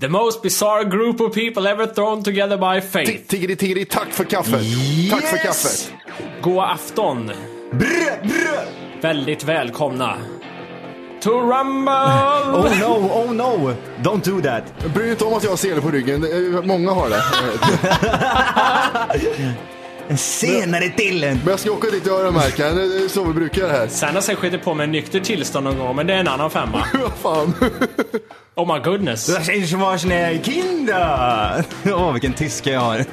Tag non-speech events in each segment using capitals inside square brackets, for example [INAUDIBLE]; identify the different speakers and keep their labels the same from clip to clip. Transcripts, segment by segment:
Speaker 1: The most bizarre group of people ever thrown together by
Speaker 2: Ti-
Speaker 1: fate.
Speaker 2: Tiggeri tiggeri, tack för kaffet! Tack för kaffet!
Speaker 1: God afton. Väldigt välkomna. To Rumble!
Speaker 3: Oh no, oh no! Don't do that!
Speaker 2: Bry dig inte om att jag har sele på ryggen, Det är- många har det. Eh,
Speaker 3: Senare till en!
Speaker 2: Men jag ska åka dit och öronmärka henne, det är så vi brukar här.
Speaker 1: Sen har sig skitit på med nykter tillstånd någon gång, men det är en annan femma.
Speaker 2: Vad fan?
Speaker 1: Oh my goodness.
Speaker 3: Das ist was ne Kinder! [LAUGHS] Åh, vilken tyska jag har. [LAUGHS]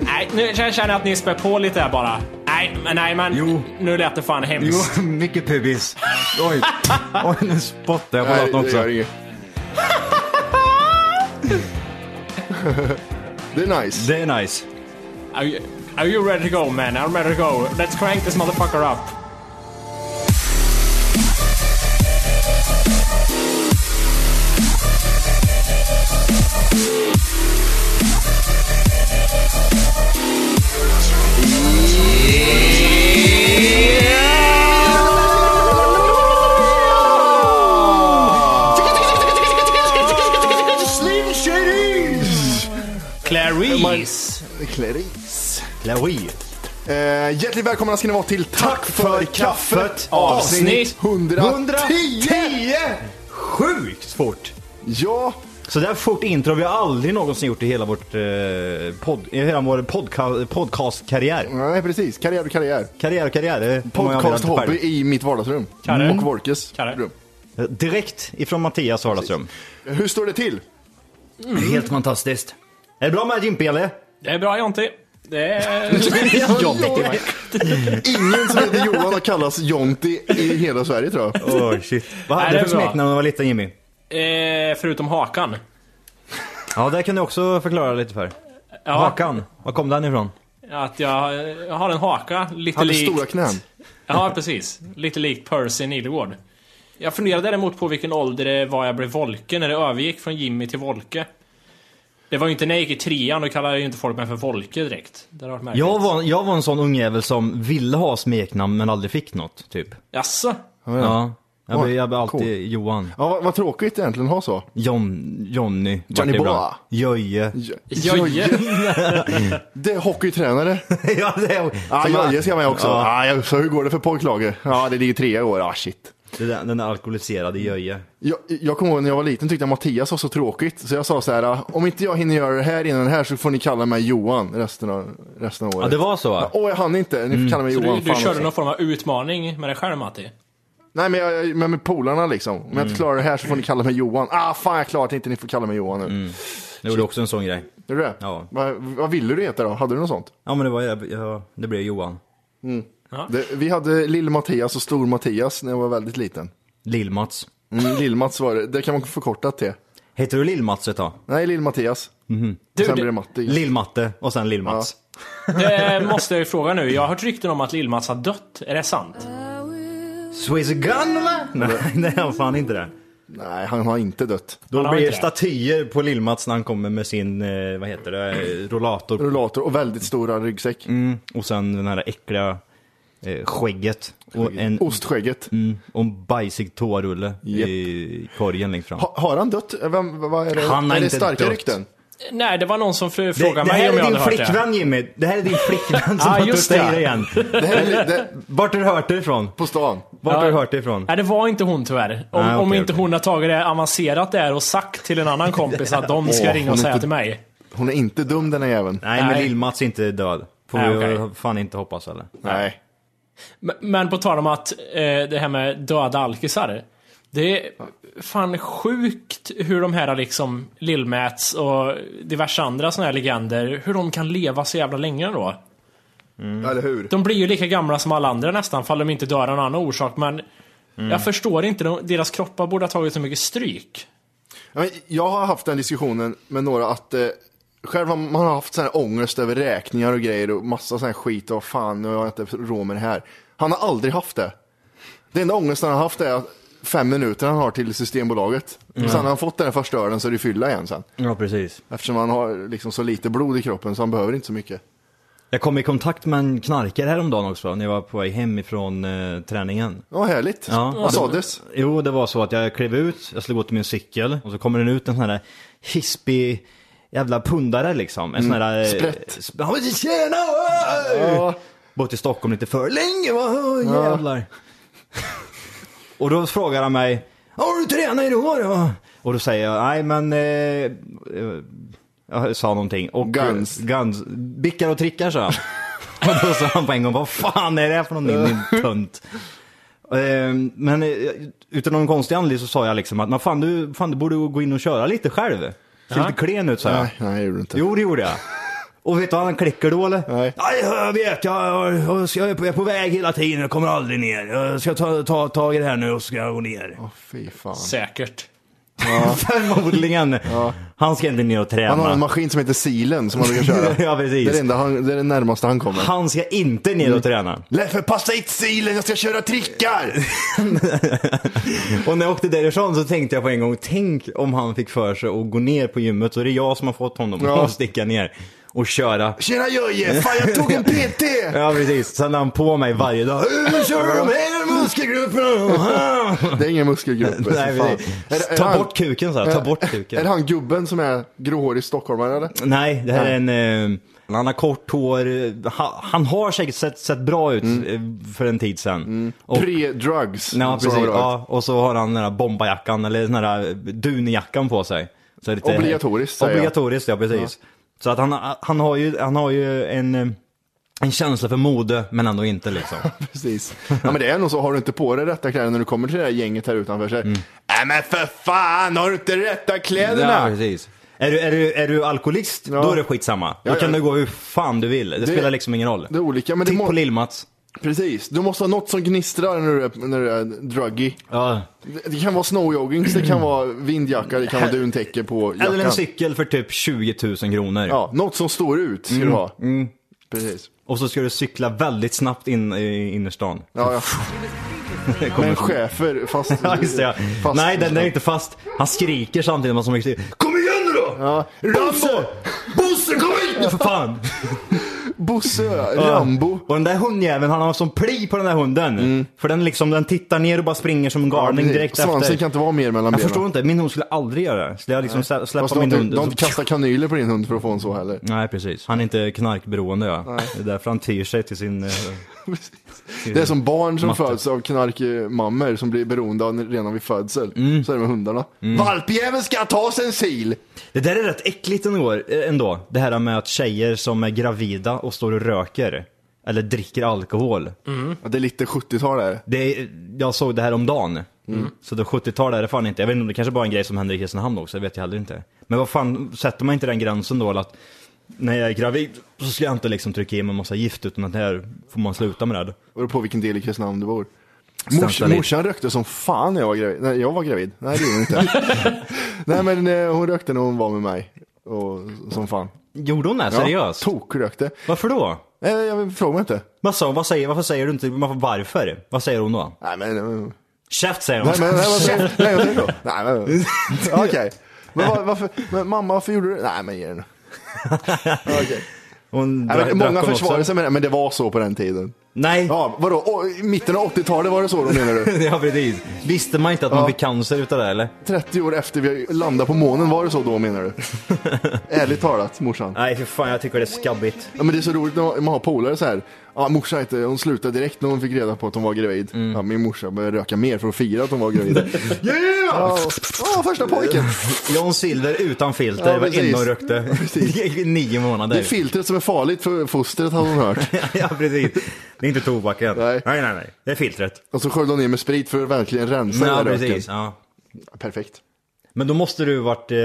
Speaker 1: Nej, nu känner jag att ni spär på lite här bara. Nej, men nej men.
Speaker 3: Jo.
Speaker 1: Nu lät det fan
Speaker 3: Jo,
Speaker 1: hemskt.
Speaker 3: mycket pubis. Oj, [LAUGHS] Oj nu spottar jag på
Speaker 2: Nej,
Speaker 3: låten
Speaker 2: det gör
Speaker 3: också.
Speaker 2: inget. Det är nice.
Speaker 3: Det är nice.
Speaker 1: Are, you, are you ready to go man? I'm ready to go. Let's crank this motherfucker up.
Speaker 2: Slim Shadys!
Speaker 1: Clarice.
Speaker 2: Clarice.
Speaker 3: Chloe.
Speaker 2: Eh, hjärtligt välkomna ska ni vara till Tack för kaffet
Speaker 1: Avsnitt
Speaker 2: 110!
Speaker 3: 110! Sjukt fort!
Speaker 2: Ja,
Speaker 3: Så där fort intro har vi aldrig någonsin gjort i hela, vårt, eh, pod, i hela vår podca- podcastkarriär.
Speaker 2: nej precis. Karriär och karriär.
Speaker 3: Karriär, karriär. det är många andra
Speaker 2: Podcast-hobby
Speaker 3: själv.
Speaker 2: i mitt vardagsrum.
Speaker 1: Karre.
Speaker 2: Och Wolkes
Speaker 1: Karre.
Speaker 2: rum.
Speaker 3: Direkt ifrån Mattias vardagsrum.
Speaker 2: Hur står det till?
Speaker 3: Helt fantastiskt. Är det bra med Jimpi eller?
Speaker 1: Det är bra Jonte. Det är...
Speaker 3: [LAUGHS]
Speaker 2: Jonti. Ingen som heter Johan har kallats Jonti i hela Sverige tror jag.
Speaker 3: Oh, shit. Vad
Speaker 1: Nej, det
Speaker 3: hade
Speaker 1: är
Speaker 3: du för
Speaker 1: bra.
Speaker 3: smeknamn när du var liten Jimmy?
Speaker 1: eh, förutom Hakan.
Speaker 3: Ja, det kan du också förklara lite för.
Speaker 1: Ja,
Speaker 3: Hakan, var kom den ifrån?
Speaker 1: Att jag, jag har en haka. Lite
Speaker 2: Hade
Speaker 1: likt...
Speaker 2: stora knän.
Speaker 1: [LAUGHS] Ja, precis. Lite likt Percy Nilegård. Jag funderade däremot på vilken ålder det var jag blev Volke när det övergick från Jimmy till Volke. Det var ju inte när jag gick i trean, då kallade ju inte folk mig för Volke direkt. Det har varit märkligt.
Speaker 3: Jag var, jag var en sån ungjävel som ville ha smeknamn men aldrig fick något, typ.
Speaker 1: Jaså?
Speaker 3: Ja. Jag blev, jag blev alltid
Speaker 2: Cool.
Speaker 3: Johan.
Speaker 2: Ja, vad, vad tråkigt egentligen att ha så.
Speaker 3: John, Johnny. vart
Speaker 2: Johnny
Speaker 3: det bra.
Speaker 2: Boa.
Speaker 3: Jöje.
Speaker 2: J-
Speaker 1: Jöje.
Speaker 2: Det är hockeytränare.
Speaker 3: [LAUGHS] ja, det är...
Speaker 2: Ja,
Speaker 3: som-
Speaker 2: Jöje ska med också.
Speaker 3: Ja,
Speaker 2: Ja. jag- så hur går det för pojklaget? Ja, det ligger trea i år. Ah, shit.
Speaker 3: det där- den där alkoholiserade Jöje.
Speaker 2: Jag, jag kommer ihåg när jag var liten tyckte jag Mattias var så tråkigt. Så jag sa så här, "Ah, om inte jag hinner göra det här innan det här så får ni kalla mig Johan resten av, resten av året.
Speaker 3: Ja, det var Mm. så?
Speaker 2: Åh, jag hann inte. Ni får kalla mig
Speaker 1: Du,
Speaker 2: Johan.
Speaker 1: du
Speaker 2: fan alltså.
Speaker 1: körde
Speaker 2: också.
Speaker 1: någon form av utmaning med dig själv Matti?
Speaker 2: Nej, men, jag, men med polarna liksom. Om
Speaker 3: Mm.
Speaker 2: jag inte klarar det här så får ni kalla mig Johan. Ah, fan jag klarar det inte. Ni får kalla mig Johan nu.
Speaker 3: Mm. Jag gjorde också en sån grej.
Speaker 2: Är det det?
Speaker 3: Ja.
Speaker 2: Vad, vad ville du heta då? Hade du något sånt?
Speaker 3: Ja men det var, jag, jag, det blev Johan.
Speaker 2: Det, vi hade Lill-Mattias och Stor-Mattias när jag var väldigt liten.
Speaker 3: Lill-Mats.
Speaker 2: Mm, Lill-Mats var det. Det kan man förkorta till.
Speaker 3: Heter du Lill-Mats ett tag?
Speaker 2: Nej, Lill-Mattias.
Speaker 1: Du,
Speaker 2: Sen
Speaker 1: det-
Speaker 2: blir det Matti.
Speaker 3: Lill-Matte och sen Lill-Mats.
Speaker 1: Det måste jag ju fråga nu. Jag har hört rykten om att Lill-Mats har dött. Är det
Speaker 3: Eh.
Speaker 1: sant?
Speaker 3: Swiss gun eller? Nej, [LAUGHS] nej han fan inte det.
Speaker 2: Nej, han har inte dött.
Speaker 3: Då
Speaker 1: har
Speaker 3: blir det
Speaker 1: inte det.
Speaker 3: statyer på Lill-Mats när han kommer med sin, eh, vad heter det, eh, rollator.
Speaker 2: Rullator och väldigt stora ryggsäck.
Speaker 3: och sen den här äckliga eh, skägget. Och en,
Speaker 1: Oh.
Speaker 2: Ostskägget.
Speaker 3: mm, och en bajsig toarulle
Speaker 2: Japp.
Speaker 3: i korgen längst fram.
Speaker 2: Ha, har han dött? Eh, Vem, vad är det?
Speaker 3: Han har
Speaker 2: är det
Speaker 3: inte
Speaker 2: starka
Speaker 3: dött.
Speaker 2: rykten?
Speaker 1: Nej, det var någon som fr-
Speaker 3: Det,
Speaker 1: frågade
Speaker 3: det
Speaker 1: mig
Speaker 3: här
Speaker 1: om jag
Speaker 3: är din
Speaker 1: hade hört det.
Speaker 3: flickvän Jimmy. Det här är din
Speaker 1: [LAUGHS]
Speaker 3: flickvän som
Speaker 1: Ah,
Speaker 3: har
Speaker 1: just
Speaker 3: tagit dig
Speaker 1: det.
Speaker 3: det igen.
Speaker 2: Det här är, det,
Speaker 3: Vart har du hört det ifrån?
Speaker 2: på stan.
Speaker 3: Vart
Speaker 1: Ja.
Speaker 3: har du hört det ifrån?
Speaker 1: Nej, det var inte hon tyvärr. Om,
Speaker 3: Nej, okej,
Speaker 1: om inte
Speaker 3: okej.
Speaker 1: hon har tagit det avancerat där och sagt till en annan kompis att
Speaker 3: [LAUGHS]
Speaker 1: de ska
Speaker 2: Åh,
Speaker 1: ringa
Speaker 2: hon
Speaker 1: och
Speaker 2: är
Speaker 1: säga
Speaker 2: inte-
Speaker 1: till mig.
Speaker 2: Hon är inte dum den här jäveln.
Speaker 3: Nej, men
Speaker 1: Nej.
Speaker 3: Lill-Mats är inte död. Får
Speaker 1: Nej,
Speaker 3: vi
Speaker 1: okej.
Speaker 3: fan inte hoppas eller?
Speaker 2: Nej.
Speaker 1: Men- Men på tal om att eh, det här med döda alkisar. Det är fan sjukt hur de här liksom Lill-Mats och diverse andra såna här legender, hur de kan leva så jävla länge då.
Speaker 3: Mm.
Speaker 2: Eller hur?
Speaker 1: De blir ju lika gamla som alla andra nästan, fall de inte dör av någon annan orsak. Men
Speaker 3: Mm.
Speaker 1: jag förstår inte, de, deras kroppar borde ha tagit så mycket stryk.
Speaker 2: Ja, men Jag har haft den diskussionen med några att eh, själv har man har haft sån här ångest över räkningar och grejer och massa sån här skit och fan nu har jag inte råd med det här. Han har aldrig haft det. Det enda ångesten han har haft är att fem minuter han har till Systembolaget.
Speaker 3: Mm.
Speaker 2: Sen när han fått den här första ölen så är det fylla igen sen.
Speaker 3: Ja, precis.
Speaker 2: Eftersom han har liksom så lite blod i kroppen så han behöver inte så mycket.
Speaker 3: Jag kom i kontakt med en knarkare häromdagen också, när jag var på väg hem ifrån eh, träningen.
Speaker 2: Ja, härligt.
Speaker 3: Ja.
Speaker 2: Vad sades?
Speaker 3: Jo, det var så att jag klev ut, jag skulle gå till min cykel, och så kommer den ut en sån här hispig jävla pundare liksom. En sån här... eh,
Speaker 2: Mm. Sprätt.
Speaker 3: sp- Han var så, tjena! oj!" Bott i Stockholm lite för länge, va? Oj, jävlar. och då frågar han mig, har du tränat i år? va?" Och då säger jag, nej men... Eh, eh, jag sa någonting. Och, eh,
Speaker 2: Guns.
Speaker 3: guns. Bickar och trickar sa han. [LAUGHS] Och då sa han på en gång, vad fan är det här för någonting
Speaker 2: [LAUGHS]
Speaker 3: din tönt? Ehm, Men eh, utan någon konstig anledning så sa jag liksom att, men fan du, fan du borde gå in och köra lite själv. Ser lite klen ut sa jag.
Speaker 2: Nej, nej, det gjorde du inte.
Speaker 3: Jo det gjorde jag. Och vet du vad han klickar då eller?
Speaker 2: Nej.
Speaker 3: jag vet, jag, jag, jag, är på, jag är på väg hela tiden, jag kommer aldrig ner. Jag ska ta, ta tag i det här nu och så ska jag gå ner.
Speaker 2: Åh, fy fan.
Speaker 1: Säkert.
Speaker 3: [LAUGHS] Förmodligen. Han ska inte ner och träna.
Speaker 2: Han har en maskin som heter Silen som han brukar köra.
Speaker 3: [LAUGHS] Ja, precis.
Speaker 2: Det är det, enda han, det är det närmaste han kommer.
Speaker 3: Han ska inte ner
Speaker 2: Mm.
Speaker 3: och träna.
Speaker 2: Leffe, passa hit silen, jag ska köra trickar!
Speaker 3: Och när jag åkte därifrån så tänkte jag på en gång, tänk om han fick för sig att gå ner på gymmet så är det jag som har fått honom
Speaker 2: Ja.
Speaker 3: att sticka ner och köra.
Speaker 2: Tjena Jöje, fan jag tog en PT!
Speaker 3: Ja precis, sen har han på mig varje dag. Hur kör du de här
Speaker 2: [LAUGHS]
Speaker 3: muskelgrupperna? [LAUGHS]
Speaker 2: Det är ingen muskelgrupp. vet du
Speaker 3: Nej,
Speaker 2: fan.
Speaker 3: precis.
Speaker 2: Är det- är
Speaker 3: Ta
Speaker 2: han-
Speaker 3: bort kuken, sa jag. Ta
Speaker 2: är-
Speaker 3: bort kuken.
Speaker 2: Är det han gubben som är gråhårig stockholmare eller?
Speaker 3: Nej, det här
Speaker 2: Nej.
Speaker 3: är en... Eh, han har kort hår, eh, ha, han har säkert sett, sett bra ut
Speaker 2: Mm.
Speaker 3: eh, för en tid sedan. Och,
Speaker 2: Pre-drugs. som
Speaker 3: ja, precis,
Speaker 2: han Mm. har varit.
Speaker 3: ja, och så har han den här bombajackan, eller den här eh, dunjackan på sig. Så det är lite,
Speaker 2: Obligatoriskt, säger jag.
Speaker 3: Obligatoriskt, ja precis. Så att han, han, har ju, han har ju en, eh, en känsla för mode, men ändå inte liksom.
Speaker 2: precis. Ja men det är nog så, har du inte på dig rätta kläder när du kommer till det där gänget här utanför så är det,
Speaker 3: Mm.
Speaker 2: Nej men för fan, har du inte rätta
Speaker 3: Ja,
Speaker 2: kläderna?
Speaker 3: precis. Är du, är, du, är du alkoholist,
Speaker 2: Ja.
Speaker 3: då är det skitsamma.
Speaker 2: Ja,
Speaker 3: då kan
Speaker 2: ja.
Speaker 3: du gå hur fan du vill. Det, spelar liksom ingen roll.
Speaker 2: det är olika, men det
Speaker 3: Titt
Speaker 2: må-
Speaker 3: på Lill-Mats.
Speaker 2: precis, du måste ha något som gnistrar när du är, när du är druggy.
Speaker 3: Ja.
Speaker 2: Det, det kan vara snowjoggings, det kan vara vindjacka, det kan vara duntäcke på jackan.
Speaker 3: Eller en cykel för typ 20 000 kronor.
Speaker 2: Ja, något som står ut ska
Speaker 3: Mm.
Speaker 2: du ha. Precis.
Speaker 3: Och så ska du cykla väldigt snabbt in i innerstan.
Speaker 2: Ja, ja.
Speaker 3: Det kommer
Speaker 2: Men
Speaker 3: som-
Speaker 2: chefer fast...
Speaker 3: [LAUGHS] Ja, just det, ja.
Speaker 2: fast-
Speaker 3: Nej, den är inte fast. Han skriker samtidigt som han skriker. Kom igen nu då!
Speaker 2: Ja. Rambo!
Speaker 3: Bosse! Bosse, kom hit nu för fan!
Speaker 2: Bosse, ja. Rambo.
Speaker 3: Och den där hundjäveln, han har sån pli på den där hunden. För den liksom, den tittar ner och bara springer som en galning
Speaker 2: Mm. precis.
Speaker 3: direkt
Speaker 2: Svansen
Speaker 3: efter.
Speaker 2: kan inte vara mer mellan
Speaker 3: Jag
Speaker 2: benen.
Speaker 3: förstår inte, min hund skulle aldrig göra det. Skulle jag liksom slä-
Speaker 2: Fast
Speaker 3: släppa
Speaker 2: du har
Speaker 3: min
Speaker 2: inte,
Speaker 3: hund?
Speaker 2: du har inte
Speaker 3: så- Mm.
Speaker 2: kastat kanyler på din hund för att få en så [LAUGHS] heller.
Speaker 3: Nej precis, han är inte knarkberoende ja. Det är därför han tyr sig till sin... eh,
Speaker 2: Det är som barn som
Speaker 3: Matte.
Speaker 2: föds av knarkmammor som blir beroende av redan vid födsel.
Speaker 3: Mm.
Speaker 2: Så är det med hundarna. Valpjäveln ska ta sig en sil!
Speaker 3: Det där är rätt äckligt ändå, ändå. Det här med att tjejer som är gravida och står och röker. Eller dricker alkohol.
Speaker 2: Ja, det är lite 70-tal där.
Speaker 3: Det är, jag såg det här om dagen. Så det 70-tal är det fan inte. Jag vet inte om det kanske bara är en grej som händer i Kristinehamn också, det vet jag heller inte. Men vad fan, sätter man inte den gränsen då eller att när jag är gravid så ska jag inte liksom trycka i mig en massa gift utan att det här får man sluta med det.
Speaker 2: Och på vilken del i Kristinehamn du bor. Mors,
Speaker 3: Santa Lin.
Speaker 2: morsan rökte som fan när jag var gravid. Nej, jag var gravid. Nej, det gjorde hon inte.
Speaker 3: [LAUGHS]
Speaker 2: Nej, men eh, hon rökte när hon var med mig. Och, som fan.
Speaker 3: Gjorde hon det? Seriöst?
Speaker 2: Tokrökte.
Speaker 3: Varför då?
Speaker 2: Eh, Jag frågar mig inte.
Speaker 3: Vad sa hon? Vad säger, varför säger du inte varför? varför? Vad säger hon då?
Speaker 2: Nej, men... eh,
Speaker 3: Käft säger hon.
Speaker 2: Nej, men nej, vad
Speaker 3: [LAUGHS]
Speaker 2: säger nej, vad säger du? Nej, men... eh,
Speaker 3: [LAUGHS]
Speaker 2: Okej. Men var, varför... Men mamma, varför gjorde du det? Nej, men ge den. Okej.
Speaker 3: Och [LAUGHS] hon
Speaker 2: Nej, men
Speaker 3: drack- drack
Speaker 2: många
Speaker 3: hon
Speaker 2: försvarar
Speaker 3: också.
Speaker 2: sig med det, men det var så på den tiden.
Speaker 3: Nej, [LAUGHS] ja.
Speaker 2: Ja, vadå? Å, i mitten av 80-talet var det så då menar du?
Speaker 3: precis. Visste man inte att man
Speaker 2: Ja.
Speaker 3: fick cancer utav det eller?
Speaker 2: 30 år efter vi landade på månen var det så då menar
Speaker 3: [LAUGHS]
Speaker 2: du? Ärligt talat morsan.
Speaker 3: Nej för fan, jag tycker det är skabbigt.
Speaker 2: Ja, men det är så roligt när man har polare så här. Ja, morsan inte, hon slutade direkt när hon fick reda på att hon var gravid.
Speaker 3: Mm.
Speaker 2: Ja, min morsa började röka mer för att fira att hon var
Speaker 3: [LAUGHS]
Speaker 2: gravid. yeah! Ja, ja, första pojken.
Speaker 3: John Silver utan filter,
Speaker 2: Ja,
Speaker 3: det var
Speaker 2: precis.
Speaker 3: inne och
Speaker 2: [LAUGHS]
Speaker 3: rökte. I nio
Speaker 2: Det är
Speaker 3: månader.
Speaker 2: filtret som är farligt för fostret hade hon hört.
Speaker 3: [LAUGHS] ja precis. Det är inte tobaken.
Speaker 2: Nej.
Speaker 3: nej, nej. nej. Det är filtret.
Speaker 2: Och så sköljde hon ner med sprit för att verkligen rensa
Speaker 3: Ja,
Speaker 2: den där
Speaker 3: precis.
Speaker 2: röken.
Speaker 3: Ja.
Speaker 2: Perfekt.
Speaker 3: Men då måste du varit eh,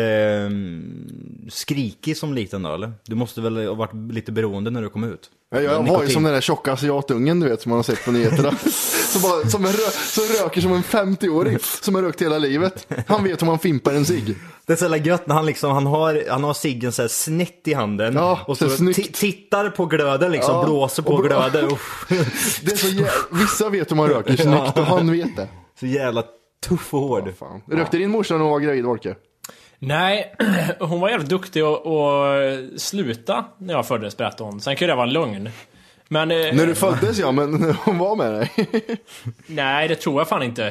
Speaker 3: skrikig som liten då eller? Du måste väl ha varit lite beroende när du kom ut?
Speaker 2: Ja, Jag var ju
Speaker 3: Nikotin.
Speaker 2: som den där tjocka asiatungen du vet som man har sett på nyheterna.
Speaker 3: [LAUGHS]
Speaker 2: som, bara, som, en rö- som röker som en 50-åring som har rökt hela livet. Han vet hur man fimpar en cigg.
Speaker 3: Det är så jävla gött när han liksom, han har, han har ciggen såhär snett i handen
Speaker 2: Ja,
Speaker 3: och
Speaker 2: så
Speaker 3: så
Speaker 2: snyggt.
Speaker 3: ti- tittar på glöden liksom,
Speaker 2: Ja,
Speaker 3: blåser på
Speaker 2: och bra- [LAUGHS]
Speaker 3: glöden. Uff,
Speaker 2: Det är så jä- Vissa vet hur man röker [LAUGHS] snyggt och han vet det.
Speaker 3: så jävla tuff och hård.
Speaker 2: Fan. Rökte din morsa när hon var gravid Volke?
Speaker 1: Nej, [CLEARS THROAT] hon var jävligt duktig att- att sluta när jag föddes, berättade hon. Sen kan ju det vara en lögn. Men... eh,
Speaker 2: När du föddes ja, men när hon var med dig.
Speaker 1: Nej, det tror jag fan inte.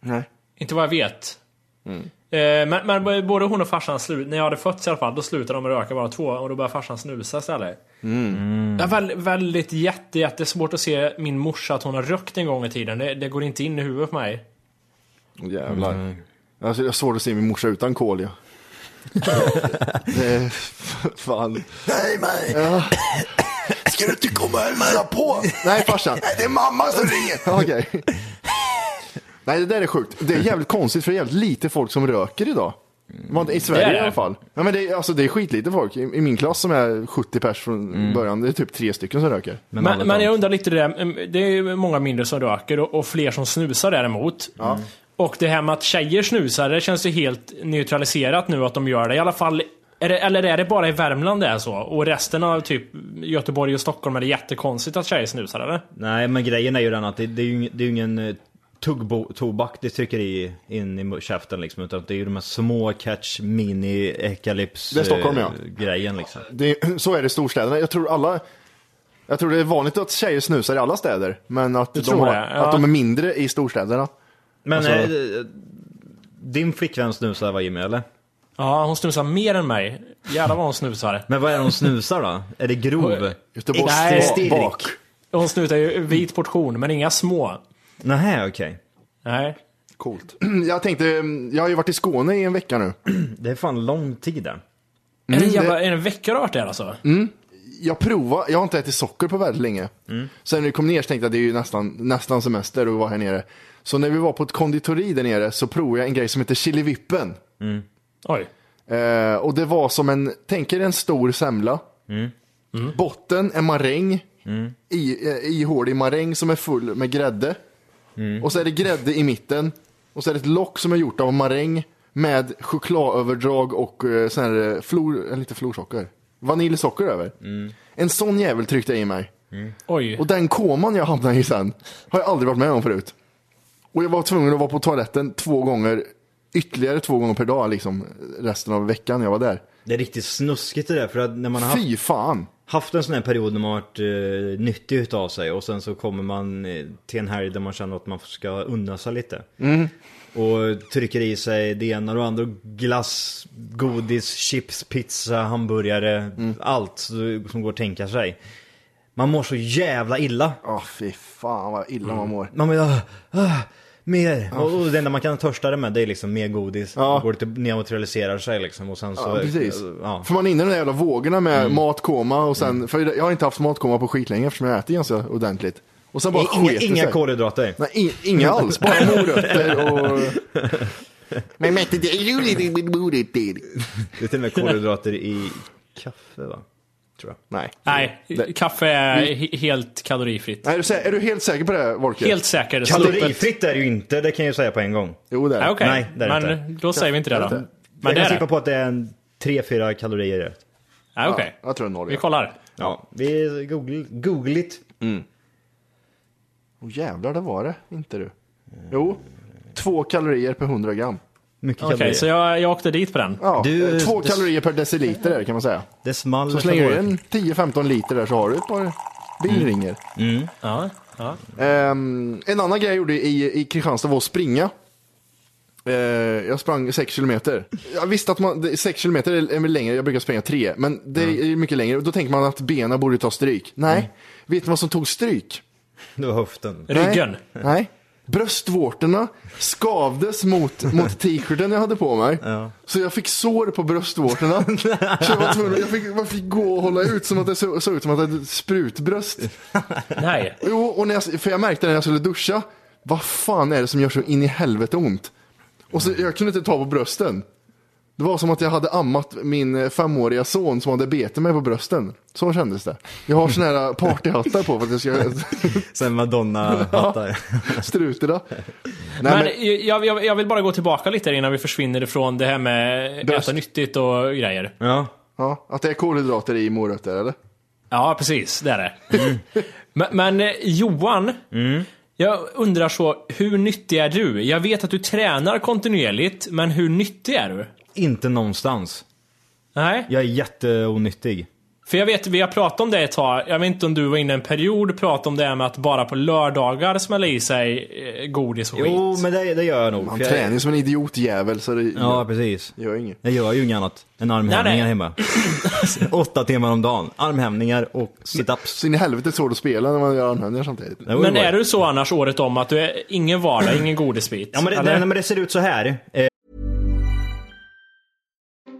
Speaker 2: Nej. Mm.
Speaker 1: Inte vad jag vet. Eh, Men, men både hon och farsan slut när jag hade fötts i alla fall, då slutade de röka bara två och då började farsan snusa istället.
Speaker 2: Mm.
Speaker 1: Det är väl, väldigt jätte, jättesvårt att se min morsa att hon har rökt en gång i tiden. Det, det går inte in i huvudet på mig.
Speaker 2: Åh, Jävlar. Alltså, jag har svårt att se min morsa utan kol ja. [LAUGHS] det är, fan. Nej, mig. Ja. Ska du inte komma och hälsa på? Nej farsan. det är mamma som ringer. [LAUGHS] Okej. Nej det där är sjukt. Det är jävligt konstigt för det är jävligt lite folk som röker idag. Man- I Sverige
Speaker 1: Det är det.
Speaker 2: i alla fall. Ja, men Mm. det, är, alltså, det är skitlite folk. I, I min klass som är 70 pers från början, det är typ tre stycken som röker.
Speaker 3: Men, alla
Speaker 1: Men, men
Speaker 3: de-
Speaker 1: jag undrar lite det där, em, det är ju många mindre som röker och, och fler som snusar däremot. Och det här med att tjejer snusar, det känns ju helt neutraliserat nu att de gör det. I alla fall, är det, eller är det bara i Värmland det är så? Och resten av typ Göteborg och Stockholm är det jättekonstigt att tjejer snusar eller?
Speaker 3: Nej men grejen är ju den att det, det är ju ing- det är ju ingen eh, tuggbo- tobak det trycker i in i mu- käften liksom utan det är ju de här små catch mini ekalyps
Speaker 2: Det är Stockholm, ja.
Speaker 3: grejen liksom.
Speaker 2: det, är- så är det i storstäderna. Jag tror alla... Jag tror det är vanligt att tjejer snusar i alla städer, men att, de,
Speaker 1: tror
Speaker 2: har,
Speaker 1: det, ja.
Speaker 2: att de är mindre i storstäderna.
Speaker 3: Men
Speaker 2: Alltså-
Speaker 3: eh, din flickvän snusar eh? va Jimmy eller?
Speaker 1: Ja, hon snusar mer än mig. Jävlar vad hon snusar.
Speaker 3: Men vad är det hon snusar då? Är det grov?
Speaker 2: Göteborgs
Speaker 1: Nej,
Speaker 2: bak-
Speaker 3: stirk.
Speaker 2: bak.
Speaker 1: Hon snusar ju vit portion, men inga små.
Speaker 3: Nähä okej.
Speaker 1: Nej.
Speaker 2: Coolt. Jag tänkte, jag har ju varit i Skåne i en vecka nu.
Speaker 3: Det är fan lång tid eh. där.
Speaker 1: är, Mm, det jävla, är det en vecka du har varit där alltså?
Speaker 2: Jag provar, jag har inte ätit socker på väldigt länge.
Speaker 1: Mm.
Speaker 2: Sen när vi kom ner så tänkte jag att det är ju nästan, nästan semester och var här nere. Så när vi var på ett konditori där nere så provade jag en grej som heter chilivippen.
Speaker 1: Oj.
Speaker 2: Eh, och det var som en, tänk er en stor semla. Botten en maräng, i, eh, ihålig maräng som är full med grädde. Och så är det grädde i mitten. Och så är det ett lock som är gjort av maräng med chokladöverdrag och eh, sån här eh, flor, eller inte florsocker, vaniljsocker över. En sån jävel tryckte jag i mig.
Speaker 1: Oj.
Speaker 2: Och den koman jag hamnade i sen har jag aldrig varit med om förut. Och jag var tvungen att vara på toaletten två gånger, ytterligare två gånger per dag liksom resten av veckan jag var där.
Speaker 3: Det är riktigt snuskigt det där för att när man har haft
Speaker 2: Fy fan!
Speaker 3: haft en sån här period när man varit eh, nyttig utav sig och sen så kommer man eh, till en helg där man känner att man ska unna sig lite.
Speaker 2: Mm.
Speaker 3: Och trycker i sig det ena och det andra. Glass, godis, chips, pizza, hamburgare.
Speaker 2: Mm.
Speaker 3: Allt så- som går att tänka sig. Man mår så jävla illa.
Speaker 2: Ja, fy fan vad illa man mår.
Speaker 3: Man bara, ah, ah, mer. Och, och det enda man kan törsta det med det är liksom mer godis.
Speaker 2: Ja.
Speaker 3: Det går lite neutraliserar sig liksom. Och sen så,
Speaker 2: Ja, Mm. precis.
Speaker 3: Ja.
Speaker 2: För man är inne i de där jävla vågorna med matkoma och sen, för jag har inte haft matkoma på skitlänge eftersom jag äter ganska ordentligt. Och sen bara
Speaker 3: Inga,
Speaker 2: sket det
Speaker 3: inga
Speaker 2: sig.
Speaker 3: kolhydrater.
Speaker 2: Nej, in, inga alls, bara morötter och... [LAUGHS] Men mätte det är roligt med morötter.
Speaker 3: Det är till och med kolhydrater i kaffe va? Tror jag.
Speaker 2: Nej.
Speaker 1: Nej, Mm.
Speaker 2: Det-
Speaker 1: kaffe är he- helt kalorifritt.
Speaker 2: Är du, sä- är du helt säker på det, Volker?
Speaker 1: Helt säker. sluppet.
Speaker 3: Kalorifritt är det ju inte, det kan jag ju säga på en gång.
Speaker 2: Jo, det är
Speaker 1: Nej,
Speaker 2: det.
Speaker 1: okej.
Speaker 3: Nej, det är det
Speaker 1: men då säger vi inte det
Speaker 2: Det är
Speaker 1: då.
Speaker 2: det.
Speaker 1: Men
Speaker 3: jag
Speaker 1: det
Speaker 3: kan
Speaker 1: är
Speaker 3: tippa
Speaker 1: det.
Speaker 3: på att det är en 3-4 kalorier i det.
Speaker 1: Nej, okej.
Speaker 2: Ja, jag tror det är noll,
Speaker 1: Vi
Speaker 2: ja.
Speaker 1: kollar.
Speaker 3: Ja, vi googl- googligt.
Speaker 2: Eh. Åh jävlar, det var det inte du. Jo, två kalorier per 100 gram.
Speaker 3: Mycket
Speaker 1: Okej,
Speaker 3: kalorier.
Speaker 1: så jag, jag åkte dit på den.
Speaker 2: Ja,
Speaker 3: Du-
Speaker 2: eh, två
Speaker 3: du-
Speaker 2: kalorier per deciliter är det, kan man säga.
Speaker 3: Det small
Speaker 2: Så slänger
Speaker 3: för
Speaker 2: du
Speaker 3: vår-
Speaker 2: in 10-15 liter där så har du ett par bilringer.
Speaker 1: Ja, ja.
Speaker 2: Ehm, en annan grej jag gjorde i, i Kristianstad var att springa. Eh, jag sprang 6 kilometer. Jag visste att man, det- sex kilometer är är väl längre, jag brukar springa tre, men det är mycket längre. Och Då tänker man att benen borde ta stryk. Nej, vet ni vad som tog stryk?
Speaker 3: Det var höften.
Speaker 1: Ryggen.
Speaker 2: Nej. Nej. Bröstvårtorna skavdes mot, mot t-shirten jag hade på mig. Så jag fick sår på bröstvårtorna. så jag, var tvungen, jag, fick, jag fick gå och hålla ut som att det såg såg ut som att jag hade ett sprutbröst.
Speaker 1: Nej.
Speaker 2: Jo, och när jag, för jag märkte när jag skulle duscha, vad fan är det som gör så in i helvete ont? Och så, jag kunde inte ta på brösten. Det var som att jag hade ammat min eh, femåriga son som hade bete mig på brösten. Så kändes det. Jag har såna här partyhattar på för att jag ska
Speaker 1: [LAUGHS]
Speaker 3: Sen Madonna-hattar. [LAUGHS]
Speaker 2: struterna. Nej,
Speaker 1: Men
Speaker 2: men,
Speaker 1: jag, jag, jag vill bara gå tillbaka lite innan vi försvinner ifrån det här med
Speaker 2: Bröst.
Speaker 1: äta nyttigt och grejer.
Speaker 3: ja.
Speaker 2: ja, att det är kolhydrater i morötter eller?
Speaker 1: Ja, precis. Det är det. Mm. men, men eh, Johan, jag undrar så, hur nyttig är du? Jag vet att du tränar kontinuerligt, men hur nyttig är du?
Speaker 3: Inte någonstans.
Speaker 1: Nej,
Speaker 3: Jag är jätteonyttig.
Speaker 1: för jag vet, vi har pratat om det ett tag. Jag vet inte om du var inne en period och pratade om det här med att bara på lördagar smälla i sig eh, godis och skit.
Speaker 3: Jo, men det, det gör jag nog.
Speaker 2: Man
Speaker 3: för jag-
Speaker 2: tränar ju som en idiotjävel så det
Speaker 3: Ja, precis.
Speaker 2: gör inget.
Speaker 3: Jag gör ju inget annat än
Speaker 1: Nej,
Speaker 3: armhävningar
Speaker 1: nej. [LAUGHS]
Speaker 3: hemma. Åtta timmar om dagen. Armhävningar och situps.
Speaker 2: Så in i helvete är det svårt att spela när man gör armhävningar samtidigt.
Speaker 3: Det var ju
Speaker 1: Men
Speaker 3: bra.
Speaker 1: är du så annars året om att du är ingen vardag, ingen godisbit?
Speaker 3: Ja, men det,
Speaker 1: eller?
Speaker 3: nej, men det ser ut så här. Eh,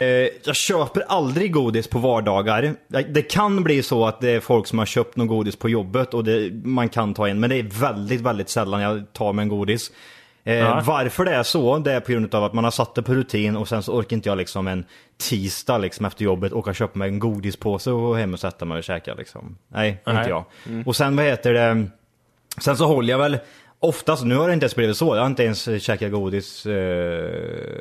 Speaker 3: eh, jag köper aldrig godis på vardagar. Det- Det kan bli så att det är folk som har köpt någon godis på jobbet och det, man kan ta in. Men det är väldigt, väldigt sällan jag tar mig en godis. Eh, Varför det är så, det är på grund av att man har satt det på rutin och sen så orkar inte jag liksom en tisdag liksom efter jobbet åka och köpa mig en godispåse och gå hem och sätta mig och käka liksom. Nej, inte
Speaker 1: Nej.
Speaker 3: jag. Och sen vad heter det? Sen så håller jag väl oftast, nu har det inte ens blivit så, jag har inte ens käkat godis eh,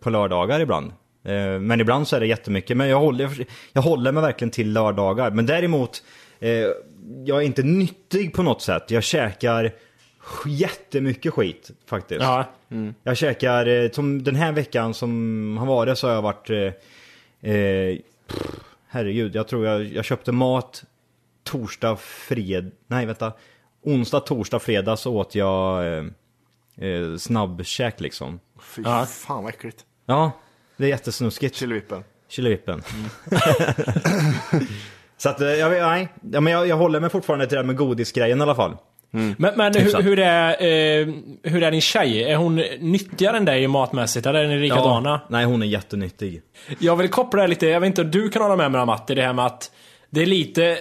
Speaker 3: på lördagar ibland. Eh, men ibland så är det jättemycket, men jag håller, jag håller mig verkligen till lördagar. Men däremot, eh, jag är inte nyttig på något sätt. Jag käkar sk- jättemycket skit faktiskt.
Speaker 1: Ja.
Speaker 3: Jag käkar, eh, som den här veckan som har varit så har jag varit... Eh, eh, pff, herregud, jag tror jag, jag köpte mat torsdag, fred... Nej, vänta. Onsdag, torsdag, fredag så åt jag eh, eh, snabbkäk liksom.
Speaker 2: Fy fan vad äckligt.
Speaker 3: Ja, det är jättesnuskigt.
Speaker 2: Chilivippen.
Speaker 3: Chilivippen. [LAUGHS] så att, eh, jag, vet- nej, ja, men jag, jag håller mig fortfarande till det här med godisgrejen i alla fall.
Speaker 1: Men, men hur,
Speaker 3: Exakt.
Speaker 1: hur, är, eh, hur är din tjej? Är hon nyttigare än dig matmässigt? Eller är ni likadana?
Speaker 3: nej, hon är jättenyttig.
Speaker 1: Jag vill koppla det här lite, jag vet inte om du kan hålla med mig om Matti, det här med att det är lite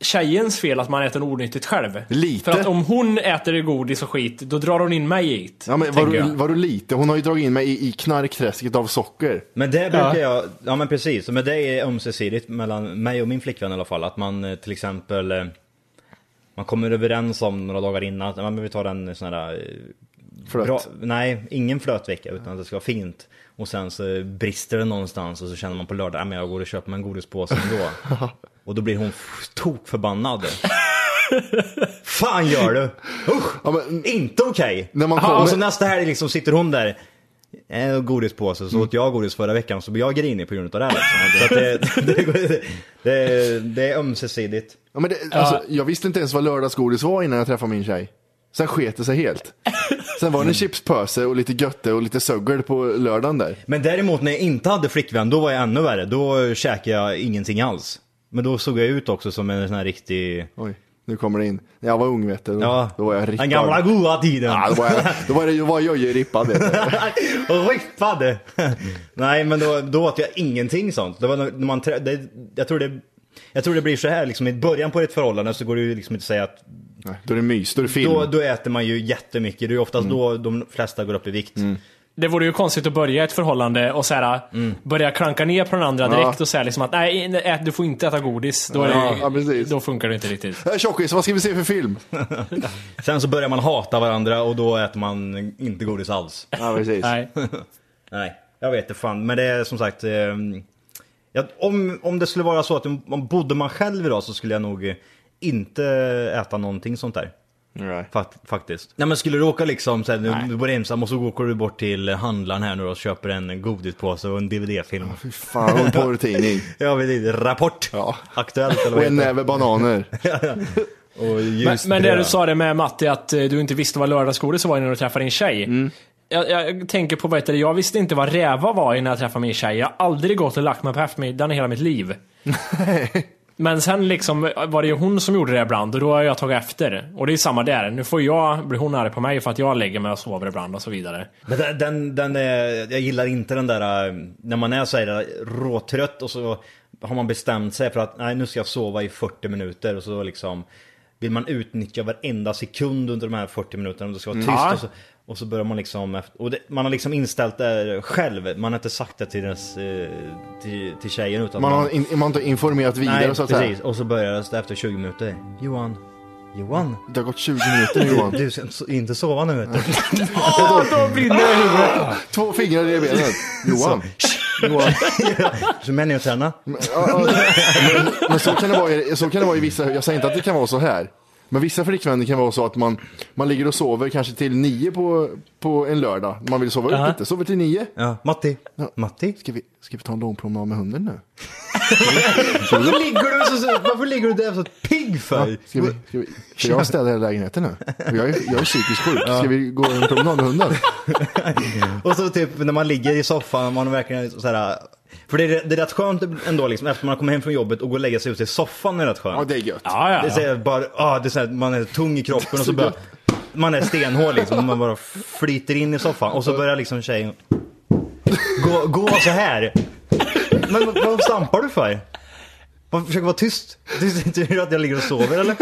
Speaker 1: tjejens fel att man äter onyttigt själv.
Speaker 2: Lite?
Speaker 1: För att om hon äter godis och skit, då drar hon in mig i det.
Speaker 2: Ja, men var,
Speaker 1: tänker
Speaker 2: du,
Speaker 1: jag.
Speaker 2: var du lite? Hon har ju dragit in mig i, i knarkträsket av socker.
Speaker 3: Men det brukar jag, ja men precis, men det är ömsesidigt mellan mig och min flickvän i alla fall. Att man eh, till exempel, eh, man kommer överens om några dagar innan, att, ja, men vi tar en sån här, eh,
Speaker 2: Flöt.
Speaker 3: bra, nej ingen flötvecka utan det ska vara fint. Och sen så brister det någonstans och så känner man på lördag, "Ja, men jag går och köper mig en godispåse ändå. och då blir hon f- tokförbannad. [LAUGHS] Fan gör du? Usch!
Speaker 2: Ja, men-
Speaker 3: Inte okej!
Speaker 2: När man
Speaker 3: Aha,
Speaker 2: kommer-
Speaker 3: Och så nästa helg liksom sitter hon där. En godispåse, så åt jag godis förra veckan så blir jag grinig på grund av det här. Liksom. Så att det, [LAUGHS] det, går- det, det är ömsesidigt.
Speaker 2: Ja, men det, alltså, jag visste inte ens vad lördagsgodis var innan jag träffade min tjej. Sen sket det sig helt. Sen
Speaker 3: Mm.
Speaker 2: var det en chipspöse och lite götte och lite sögel på lördagen där.
Speaker 3: Men däremot när jag inte hade flickvän, då var jag ännu värre. Då käkade jag ingenting alls. Men då såg jag ut också som en sån här riktig...
Speaker 2: Oj, nu kommer det in. När jag var ung vet du,
Speaker 3: Ja,
Speaker 2: då var jag rippad.
Speaker 3: den gamla goa tiden.
Speaker 2: Ja, då var jag,
Speaker 3: [LAUGHS]
Speaker 2: då var jag, då var jag ju rippad vet du.
Speaker 3: Rippade! Nej men då, då åt jag ingenting sånt. Det var när man, trä- det, jag, tror det, jag tror det blir så här liksom, i början på ett förhållande så går det ju liksom inte att säga att
Speaker 2: Nej, Då är det mys, då är det film.
Speaker 3: då, då äter man ju jättemycket. Det är ju oftast då de flesta går upp i vikt.
Speaker 1: Det vore ju konstigt att börja ett förhållande och så här, börja klanka ner på den andra direkt och säga liksom att nej, nej, ät, du får inte äta godis. Då, är det,
Speaker 2: Ja, precis.
Speaker 1: då funkar det inte riktigt.
Speaker 2: [LAUGHS] Äh, Tjockis, vad ska vi se för film?
Speaker 3: Sen så börjar man hata varandra och då äter man inte godis alls.
Speaker 2: Ja, precis.
Speaker 1: Nej.
Speaker 3: Nej, jag vet inte fan. Men det är som sagt... Eh, ja, om, om det skulle vara så att man bodde man själv idag så skulle jag nog eh, inte äta någonting sånt där.
Speaker 2: Nej.
Speaker 3: Fakt, faktiskt. Nej men skulle du åka liksom så här, nu- du bor ensam och så åker du bort till handlaren här nu och köper en godispåse och en DVD-film.
Speaker 2: Fan, hon porrtidning.
Speaker 3: Ja, vet inte, Rapport!
Speaker 2: Ja.
Speaker 3: Aktuellt eller
Speaker 2: Och
Speaker 3: vad
Speaker 2: en
Speaker 3: heter
Speaker 2: näve bananer.
Speaker 3: det? Och
Speaker 1: eh, Men,
Speaker 3: ljust
Speaker 1: men det
Speaker 3: bröd.
Speaker 1: du sa det med Matti, att eh, du inte visste vad lördagsgodis var innan du träffade din tjej. Jag, jag tänker på, vad heter det, jag visste inte vad räva var innan jag träffade min tjej. Jag har aldrig gått och lagt mig på eftermiddagen i hela mitt liv. Men sen liksom var det ju hon som gjorde det ibland och då har jag tagit efter. Och det är samma där. Nu får jag, blir hon arg på mig för att jag lägger mig och sover ibland och så vidare.
Speaker 3: Men den, den, den är, jag gillar inte den där, eh, när man är så här råtrött och så har man bestämt sig för att nej nu ska jag sova i 40 minuter och så liksom vill man utnyttja varenda sekund under de här 40 minuterna om det ska
Speaker 2: Mm.
Speaker 3: vara tyst
Speaker 1: Ja.
Speaker 3: och, så, och så börjar man liksom, efter- och det, man har liksom inställt det själv, man har inte sagt det till, dess, eh, till, till tjejen utan
Speaker 2: Man har, in, man har inte informerat vidare
Speaker 3: nej,
Speaker 2: så att
Speaker 3: precis,
Speaker 2: säga.
Speaker 3: och så börjar det efter 20 minuter, Johan, Johan,
Speaker 2: Det har gått 20 minuter Johan.
Speaker 3: [LAUGHS] du ska inte sova nu vet du.
Speaker 2: Två fingrar i benet. Johan. [LAUGHS] Johan.
Speaker 3: [LAUGHS] Så män är att träna.
Speaker 2: Ja, ja. Men, men så, kan det vara, i- så kan det vara i vissa, jag säger inte att det kan vara så här. Men vissa flickvänner kan vara så att man, man ligger och sover kanske till nio på, på en lördag. Man vill sova upp lite, sover till nio.
Speaker 3: Ja, Matti, Matti.
Speaker 2: Ska vi, ska vi ta en långpromenad med hunden nu?
Speaker 3: Varför ligger du så, så, varför ligger du där så pigg för?
Speaker 2: Ska vi, ska vi, för jag städar hela lägenheten nu. För Jag är, jag är psykiskt sjuk. Ska vi gå en promenad med hunden?
Speaker 3: Och så typ när man ligger i soffan, man verkligen så här. För det är, det är rätt skönt ändå liksom, efter man kommer hem från jobbet och går och lägger sig ute i soffan är rätt skönt.
Speaker 2: Ja, det är gött.
Speaker 1: Ja, ja.
Speaker 3: Det är så här, bara, ah, det är så här, man är tung i kroppen och så bara, man är stenhård liksom. Man bara flyter in i soffan och så börjar liksom tjejen gå, gå så här. Men vad stampar du för? Man försöker vara tyst. Du ser inte att jag ligger och sover eller?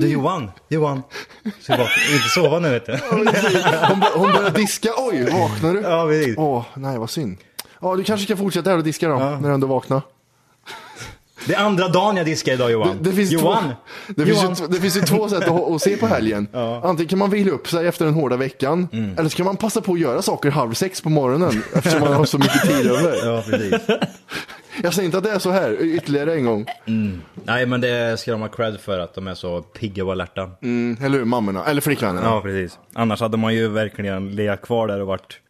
Speaker 3: Du Johan, Johan. Så jag bara, inte sova nu vet du.
Speaker 2: Hon, bör- hon börjar diska. Oj, vaknar du?
Speaker 3: Ja, precis.
Speaker 2: Åh, nej vad synd. Ja, du kanske kan fortsätta här och diska då, när du ändå vaknar.
Speaker 3: Det är andra dagen jag diskar idag Johan.
Speaker 2: Det finns,
Speaker 3: Johan!
Speaker 2: Två, det,
Speaker 3: Johan.
Speaker 2: Finns ju, det finns ju två sätt att, att se på helgen. Antingen kan man vila upp sig efter den hårda veckan,
Speaker 3: Mm.
Speaker 2: eller så kan man passa på att göra saker halv sex på morgonen, eftersom man har så mycket tid över.
Speaker 3: Ja precis.
Speaker 2: Jag säger inte att det är så här, ytterligare en gång.
Speaker 3: Nej men det ska de ha cred för att de är så pigga och alerta.
Speaker 2: Mm, eller hur, mammorna, eller flickvännerna.
Speaker 3: Ja precis. Annars hade man ju verkligen legat kvar där och varit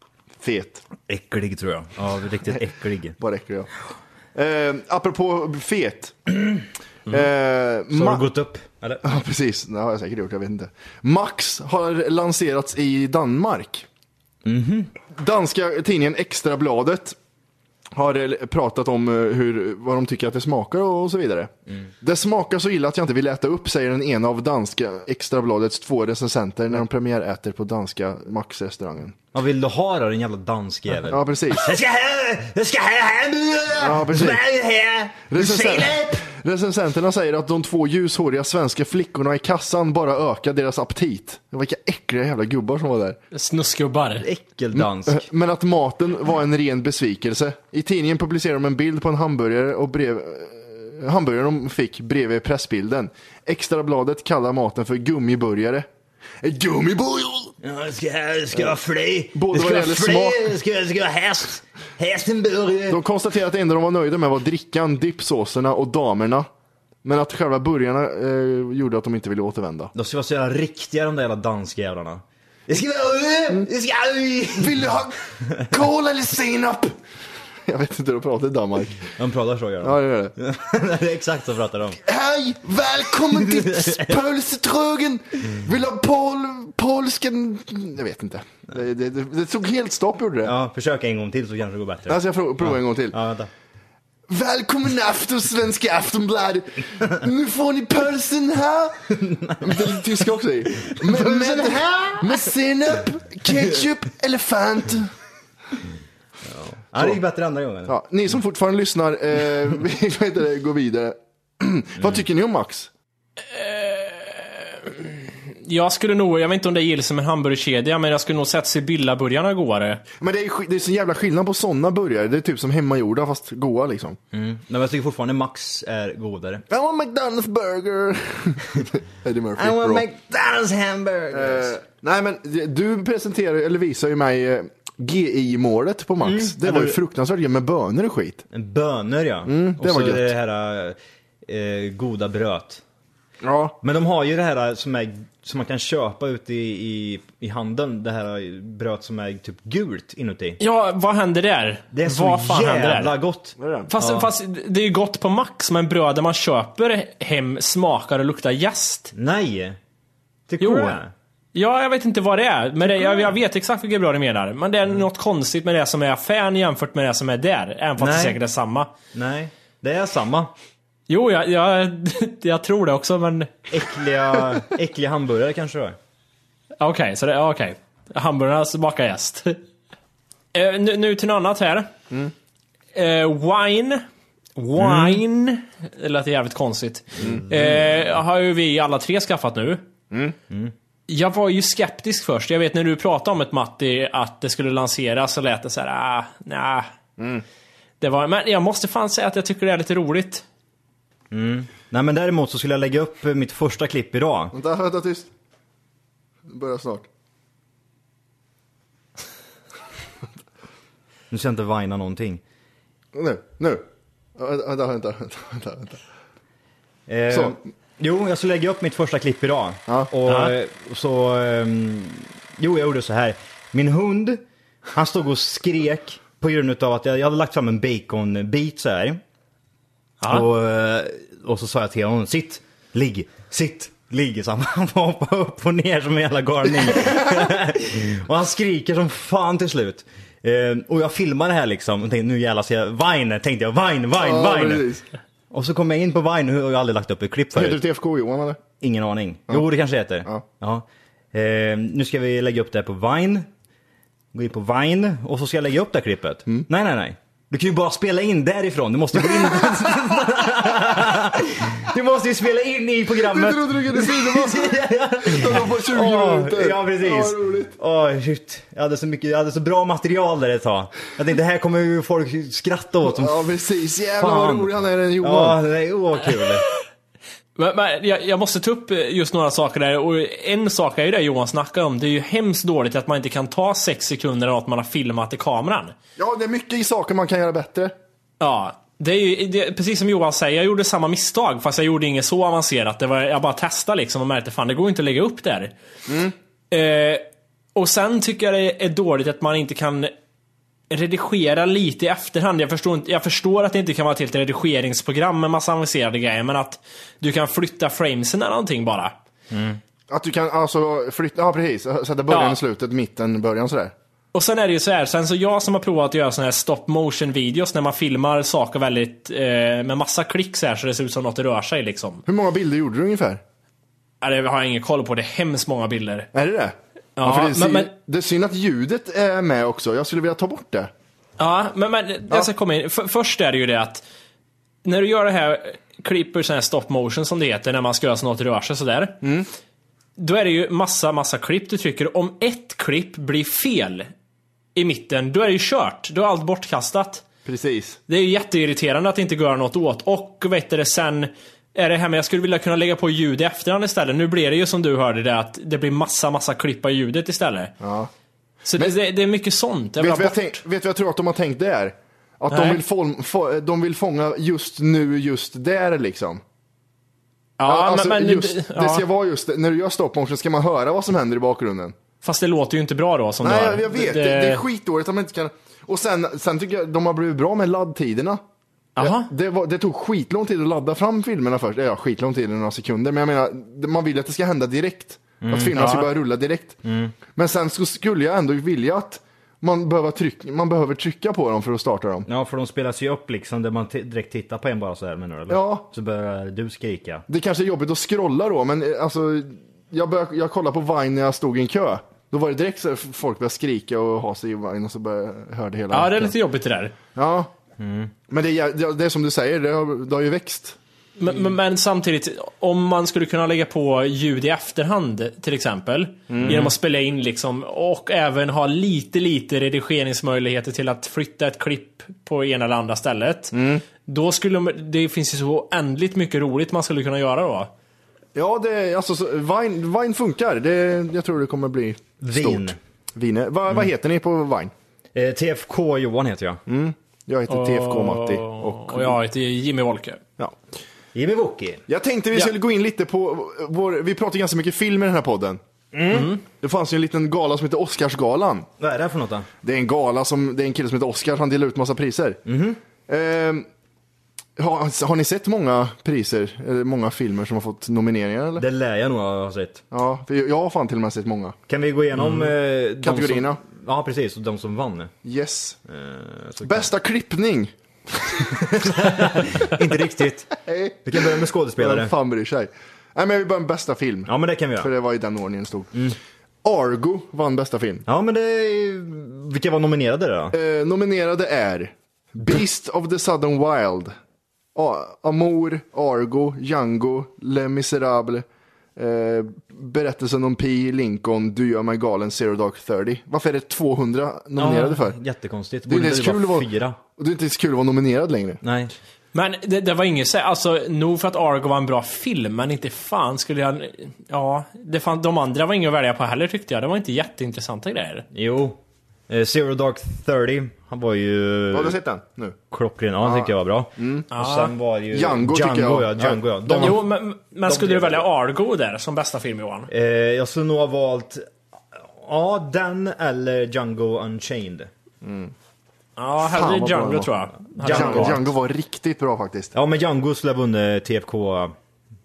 Speaker 2: Fet,
Speaker 3: äcklig tror jag. Ja riktigt äcklig.
Speaker 2: bara räcker jag. Eh, apropå fet. Eh,
Speaker 3: Mm. Så
Speaker 2: ma-
Speaker 3: har du gått upp? Eller?
Speaker 2: Ja, precis. Det har jag säkert gjort, jag vet inte. Max har lanserats i Danmark.
Speaker 3: Mhm.
Speaker 2: Danska tidningen Extrabladet har eh, pratat om eh, hur, vad de tycker att det smakar och så vidare.
Speaker 3: Mm.
Speaker 2: Det smakar så illa att jag inte vill äta upp, säger den ena av danska Extrabladets två recensenter när de premiäräter på danska Max-restaurangen.
Speaker 3: Vad vill du ha då din jävla dansk jävel?
Speaker 2: Ja, precis.
Speaker 3: Jag ska ha, jag ska ha här nu!
Speaker 2: Ja, precis.
Speaker 3: Jag ska ha här. Du
Speaker 2: Recensent-
Speaker 3: ser det?
Speaker 2: Recensenterna säger att de två ljushåriga svenska flickorna i kassan bara ökar deras aptit. Vilka äckliga jävla gubbar som var där.
Speaker 1: Snuskgubbar.
Speaker 2: Mm.
Speaker 3: Äckeldansk.
Speaker 2: Men att maten var en ren besvikelse. I tidningen publicerar de en bild på en hamburgare och brev, eh, hamburgaren de fick bredvid pressbilden. Extrabladet kallar maten för gummiburgare. En Gummiburgare!
Speaker 3: Ja, jag ska, jag ska ha fly.
Speaker 2: Både
Speaker 3: jag
Speaker 2: vad det
Speaker 3: ska ha
Speaker 2: gäller
Speaker 3: fly,
Speaker 2: smak-
Speaker 3: Jag ska, jag ska ha häst. Hästenburgare.
Speaker 2: De konstaterar att det enda de var nöjda med var drickan, dippsåserna och damerna. Men att själva burgarna eh, gjorde att de inte ville återvända.
Speaker 3: De ska vara så jävla riktiga de där jävla danskjävlarna. Jag ska vara...
Speaker 2: Mm.
Speaker 3: Jag ska...
Speaker 2: Vill du ha kol eller senap? Jag vet inte hur de pratar i Danmark.
Speaker 3: De pratar så gör de.
Speaker 2: Ja, det gör det.
Speaker 3: [LAUGHS] det är exakt så pratar de.
Speaker 2: [LAUGHS] Hej! Välkommen till Pölsetrögen! Vill du ha pol... polsken... Jag vet inte. Det, det, det, det tog helt stopp gjorde det.
Speaker 3: Ja, försök en gång till så kanske det går bättre.
Speaker 2: Alltså jag prov- provar en gång till.
Speaker 3: Ja, vänta.
Speaker 2: Välkommen efter svenska Aftonbladet! Nu får ni pölsen [LAUGHS] här! Det är lite tyska också i. Med, med, med senap, ketchup, elefant.
Speaker 3: Ja, det gick bättre andra gången.
Speaker 2: Ja, ni som fortfarande lyssnar, eh, vi vad heter det, går vidare. [CLEARS THROAT] Vad tycker ni om Max?
Speaker 1: Eh, Jag skulle nog, jag vet inte om det gills som en hamburgerkedja, men jag skulle nog sätta Sibylla-burgarna godare.
Speaker 2: Men det är, sk- det är så jävla skillnad på sådana burgare. Det är typ som hemmagjorda fast goa liksom.
Speaker 3: Nej, men jag tycker fortfarande Max är godare.
Speaker 2: I want McDonalds burger. [LAUGHS] Eddie Murphy. bra.
Speaker 3: McDonalds hamburgers!
Speaker 2: Eh, nej men du presenterar eller visar ju mig eh, GI-målet på Max. Det var ju fruktansvärt gött med bönor och skit.
Speaker 3: En Bönor ja.
Speaker 2: Mm, det
Speaker 3: och så
Speaker 2: var gött.
Speaker 3: det här eh, goda bröt.
Speaker 2: Ja.
Speaker 3: Men de har ju det här som, är, som man kan köpa ute i, i, i handeln. Det här bröt som är typ gult inuti.
Speaker 1: Ja, vad händer där?
Speaker 3: Det är så
Speaker 1: vad fan händer
Speaker 3: jävla
Speaker 1: där?
Speaker 3: gott.
Speaker 1: Fast, fast det är ju gott på max, men bröden man köper hem smakar och luktar jäst.
Speaker 3: Nej! Tycker
Speaker 1: Jo.
Speaker 3: du det?
Speaker 1: Ja, jag vet inte vad det är. Men det, jag, jag vet exakt vilket bröd du menar. Men det är
Speaker 3: Mm.
Speaker 1: något konstigt med det som är affären jämfört med det som är där. Även fast
Speaker 3: Nej.
Speaker 1: det säkert är samma.
Speaker 3: Nej, det är samma.
Speaker 1: Jo, jag, jag, [LAUGHS] jag tror det också, men...
Speaker 2: [LAUGHS]
Speaker 3: Äckliga, äckliga hamburgare kanske det är.
Speaker 1: Okej, så det... ja, Okej. Hamburgarna smakar jäst. [LAUGHS] Eh, nu, nu till något annat här. Eh, wine. Wine. Det lät jävligt konstigt. Eh, har ju vi alla tre skaffat nu. Jag var ju skeptisk först. Jag vet när du pratade om ett Matti, att det skulle lanseras, så lät det så här, ah, nej. Det var, men jag måste fan säga att jag tycker det är lite roligt.
Speaker 3: Nej men däremot så skulle jag lägga upp eh, mitt första klipp idag.
Speaker 2: Vänta, vänta tyst. Det börjar snart.
Speaker 3: Nu ska jag inte vina någonting.
Speaker 2: Nu, nu. Vänta, vänta, vänta. vänta, vänta.
Speaker 3: Eh,
Speaker 2: Så.
Speaker 3: Jo, jag ska lägga upp mitt första klipp idag.
Speaker 2: Ja.
Speaker 3: Och eh, så... ehm, jo, jag gjorde så här. Min hund, han stod och skrek på grund av att jag, jag hade lagt fram en baconbit så här. Och, eh, och så sa jag till honom, sitt, ligg, sitt, ligg. Så han [LAUGHS] bara hoppade upp och ner som en jävla galning. [LAUGHS] och han skriker som fan till slut. Eh, och jag filmar det här liksom. Och tänkte, nu jävlar ska jag, Vine, tänkte jag, Vine, Vine,
Speaker 2: Ja,
Speaker 3: Vine.
Speaker 2: precis.
Speaker 3: Och så kom jag in på Vine, och jag har aldrig lagt upp ett klipp
Speaker 2: Heter du
Speaker 3: förut.
Speaker 2: TFK Johan eller?
Speaker 3: Ingen aning. Jo, det kanske heter.
Speaker 2: Ja.
Speaker 3: Eh, nu ska vi lägga upp det här på Vine. Gå in på Vine och så ska jag lägga upp det här klippet.
Speaker 2: Mm.
Speaker 3: Nej, nej, nej. Du kan ju bara spela in därifrån. Du måste gå
Speaker 2: [LAUGHS]
Speaker 3: in... du måste ju spela in i
Speaker 2: Du
Speaker 3: programmet.
Speaker 2: trodde du kunde sidobassar på 20
Speaker 3: Åh,
Speaker 2: minuter.
Speaker 3: ja, precis.
Speaker 2: Ja, roligt.
Speaker 3: Åh, shit. Jag hade, så mycket, jag hade så bra material där ett tag. Jag tänkte, det här kommer ju folk skratta åt som
Speaker 2: Ja, precis. Jävlar vad rolig han är den Johan.
Speaker 3: Ja, det är åh, kul.
Speaker 1: Men, men jag, jag måste ta upp eh, just några saker där och en sak är ju det Johan snackar om. Det är ju hemskt dåligt att man inte kan ta sex sekunder av att man har filmat i kameran.
Speaker 2: Ja, det är mycket i saker man kan göra bättre.
Speaker 1: Ja, det är ju det, precis som Johan säger. Jag gjorde samma misstag fast jag gjorde inget så avancerat. Det var, jag bara testade liksom och märkte fan det går inte att lägga upp där. Eh, och sen tycker jag det är dåligt att man inte kan redigera lite i efterhand. Jag förstår, inte, jag förstår att det inte kan vara ett helt redigeringsprogram med massa avancerade grejer, men att du kan flytta framesen eller någonting bara.
Speaker 2: Att du kan alltså flytta, ja precis. Sätta början,
Speaker 1: Ja.
Speaker 2: slutet, mitten, början sådär.
Speaker 1: Och sen är det ju så här, sen så jag som har provat att göra såna här stop motion videos när man filmar saker väldigt eh, med massa klick så här så det ser ut som något rör sig liksom.
Speaker 2: Hur många bilder gjorde du ungefär?
Speaker 1: Ja, det har jag ingen koll på, det är hemskt många bilder.
Speaker 2: Är det det?
Speaker 1: Ja,
Speaker 2: för det, är sy-
Speaker 1: men- men-
Speaker 2: det är synd att ljudet är med också. Jag skulle vilja ta bort det.
Speaker 1: Ja, men, men jag ska komma in. F- först är det ju det att när du gör det här, klipper sån här stop motion som det heter, när man ska göra så något rör sig sådär. Mm. Då är det ju massa, massa klipp du trycker. Om ett klipp blir fel i mitten, då är det ju kört. Då är allt bortkastat.
Speaker 2: Precis.
Speaker 1: Det är ju jätteirriterande att det inte går något åt. Och vet du det, sen är det här med jag skulle vilja kunna lägga på ljud i efterhand istället. Nu blir det ju som du hörde det att det blir massa, massa klippa i ljudet istället. Så det, det, det är mycket sånt. Jag vill ha
Speaker 2: Vet du vad jag,
Speaker 1: bort-
Speaker 2: tänk- vet vad jag tror att de har tänkt där? Att de
Speaker 1: Nej.
Speaker 2: vill, fång- få- de vill fånga just nu, just där liksom.
Speaker 1: ja,
Speaker 2: alltså,
Speaker 1: men, men,
Speaker 2: just,
Speaker 1: det-
Speaker 2: Det ska
Speaker 1: ja.
Speaker 2: vara just, när du gör stop motion ska man höra vad som händer i bakgrunden.
Speaker 1: Fast det låter ju inte bra då som
Speaker 2: Nej,
Speaker 1: du hör.
Speaker 2: jag, jag vet. Det, det är skitdåligt att man inte kan... Och sen, sen tycker jag de har blivit bra med laddtiderna.
Speaker 1: Aha.
Speaker 2: Det, det, var, det tog skitlång tid att ladda fram filmerna först. Ja, skitlång tid, några sekunder. Men jag menar, man vill ju att det ska hända direkt.
Speaker 1: Mm,
Speaker 2: Att filmerna ska börja rulla direkt. Men sen så skulle jag ändå vilja att man behöver, tryck, man behöver trycka på dem för att starta dem.
Speaker 3: Ja, för de spelas ju upp liksom där man t- direkt tittar på en bara så här menar du? eller?
Speaker 2: Ja.
Speaker 3: Så börjar du skrika.
Speaker 2: Det kanske är jobbigt att scrolla då, men eh, alltså, jag, började, jag kollade på Vine när jag stod i en kö. Då var det direkt så här, f- folk började skrika och ha sig i Vine och så började, hörde hela
Speaker 1: Ja, det är
Speaker 2: veckan.
Speaker 1: lite jobbigt det där.
Speaker 2: Ja. Men det är, jä- det är som du säger, det har, det har ju växt.
Speaker 1: Men, men, men samtidigt, om man skulle kunna lägga på ljud i efterhand till exempel. Genom att spela in liksom och även ha lite, lite redigeringsmöjligheter till att flytta ett klipp på ena eller andra stället. Då skulle man- det finns ju så oändligt mycket roligt man skulle kunna göra då.
Speaker 2: Ja, det, är- alltså, så, Vine, Vine funkar. Det, jag tror det kommer bli stort.
Speaker 3: Vin.
Speaker 2: Vine. Va, Vad heter ni på Vine?
Speaker 3: Eh, TFK Johan heter jag.
Speaker 2: Mm. Jag heter TFK Matti.
Speaker 1: Och,
Speaker 2: Och,
Speaker 1: och jag heter Jimmy Wolke.
Speaker 2: ja.
Speaker 3: Jimmy Woki.
Speaker 2: Jag tänkte vi
Speaker 1: Ja.
Speaker 2: skulle gå in lite på vår, vi pratar ganska mycket film i den här podden. Mm. Det fanns ju en liten gala som heter Oscarsgalan.
Speaker 3: Vad är det här för något då?
Speaker 2: Det är en gala som, det är en kille som heter Oscar, han delar ut massa priser. Ehm, har, har ni sett många priser, eller många filmer som har fått nomineringar eller?
Speaker 3: Det lär jag nog ha sett.
Speaker 2: Ja, för jag har fan till och med sett många.
Speaker 3: Kan vi gå igenom... eh, de
Speaker 2: Mm. Kategorierna.
Speaker 3: Som, ja, precis. Och de som vann. Eh,
Speaker 2: Yes.
Speaker 3: så
Speaker 2: Bästa klippning!
Speaker 3: Kan, inte riktigt.
Speaker 2: Nej.
Speaker 3: Vi kan börja med
Speaker 2: Vem
Speaker 3: skådespelare.
Speaker 2: fan bryr sig? Nej men vi börjar med bästa film.
Speaker 3: Ja, men Mm. det kan vi
Speaker 2: För
Speaker 3: göra.
Speaker 2: det var i den ordningen det stod. Argo vann bästa film.
Speaker 3: Ja, men det... är- Vilka var nominerade då?
Speaker 2: Eh, nominerade är Beast of the Southern Wild, A- Amour, Argo, Django, Les Misérables, eh, Berättelsen om Pi, Lincoln, Du gör mig galen, Zero Dark Thirty. Varför är det 200 nominerade för?
Speaker 3: Ja, jättekonstigt.
Speaker 2: Det är
Speaker 3: Borde
Speaker 2: inte ens
Speaker 3: det,
Speaker 2: kul att
Speaker 3: vara
Speaker 2: vara,
Speaker 3: fyra?
Speaker 2: och det är inte ens kul att vara nominerad längre.
Speaker 3: Nej.
Speaker 1: Men det, det var inget så alltså nog för att Argo var en bra film, men inte fan skulle jag... Ja, det fan, de andra var inget att välja på heller tyckte jag. Det var inte jätteintressanta grejer.
Speaker 3: Jo. Eh, Zero Dark 30. Han var ju...
Speaker 2: Har du sett den? Nu.
Speaker 3: Klockren. Ja, han tyckte jag var bra. Och sen var ju...
Speaker 2: Mm. Django tycker
Speaker 3: Django,
Speaker 2: jag.
Speaker 3: ja. Django, ja. De,
Speaker 2: De-
Speaker 1: Jo, men, men skulle du
Speaker 3: blev-
Speaker 1: välja Argo där som bästa film Johan?
Speaker 3: eh, jag skulle nog ha valt... Ja, den eller Django Unchained.
Speaker 1: Ja,
Speaker 2: Fan,
Speaker 1: hellre
Speaker 2: vad bra det
Speaker 1: Django
Speaker 2: var.
Speaker 1: tror jag. Hade jag
Speaker 2: Django,
Speaker 1: valt.
Speaker 2: Django var riktigt bra faktiskt.
Speaker 3: Ja, men Django skulle ha vunnit TFK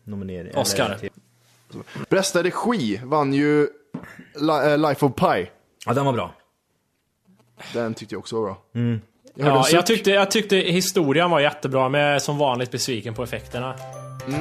Speaker 3: nominering.
Speaker 1: Oscar.
Speaker 3: eller-
Speaker 2: Bästa regi vann ju La- eh, Life of Pi.
Speaker 3: Ja, den var bra.
Speaker 2: Den tyckte jag också var bra. Jag hörde en
Speaker 1: Ja,
Speaker 2: suck.
Speaker 1: jag, tyckte, jag tyckte historien var jättebra, men jag är som vanligt besviken på effekterna.
Speaker 3: Mm.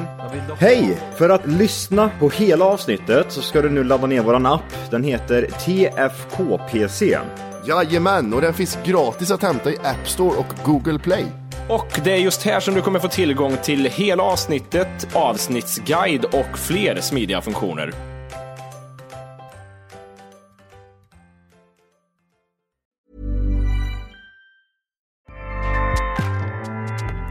Speaker 3: Hej! För att lyssna på hela avsnittet så ska du nu ladda ner våran app. Den heter TFK-PC.
Speaker 2: Jajamän, och den finns gratis att hämta i App Store och Google Play.
Speaker 4: Och det är just här som du kommer få tillgång till hela avsnittet, avsnittsguide och fler smidiga funktioner.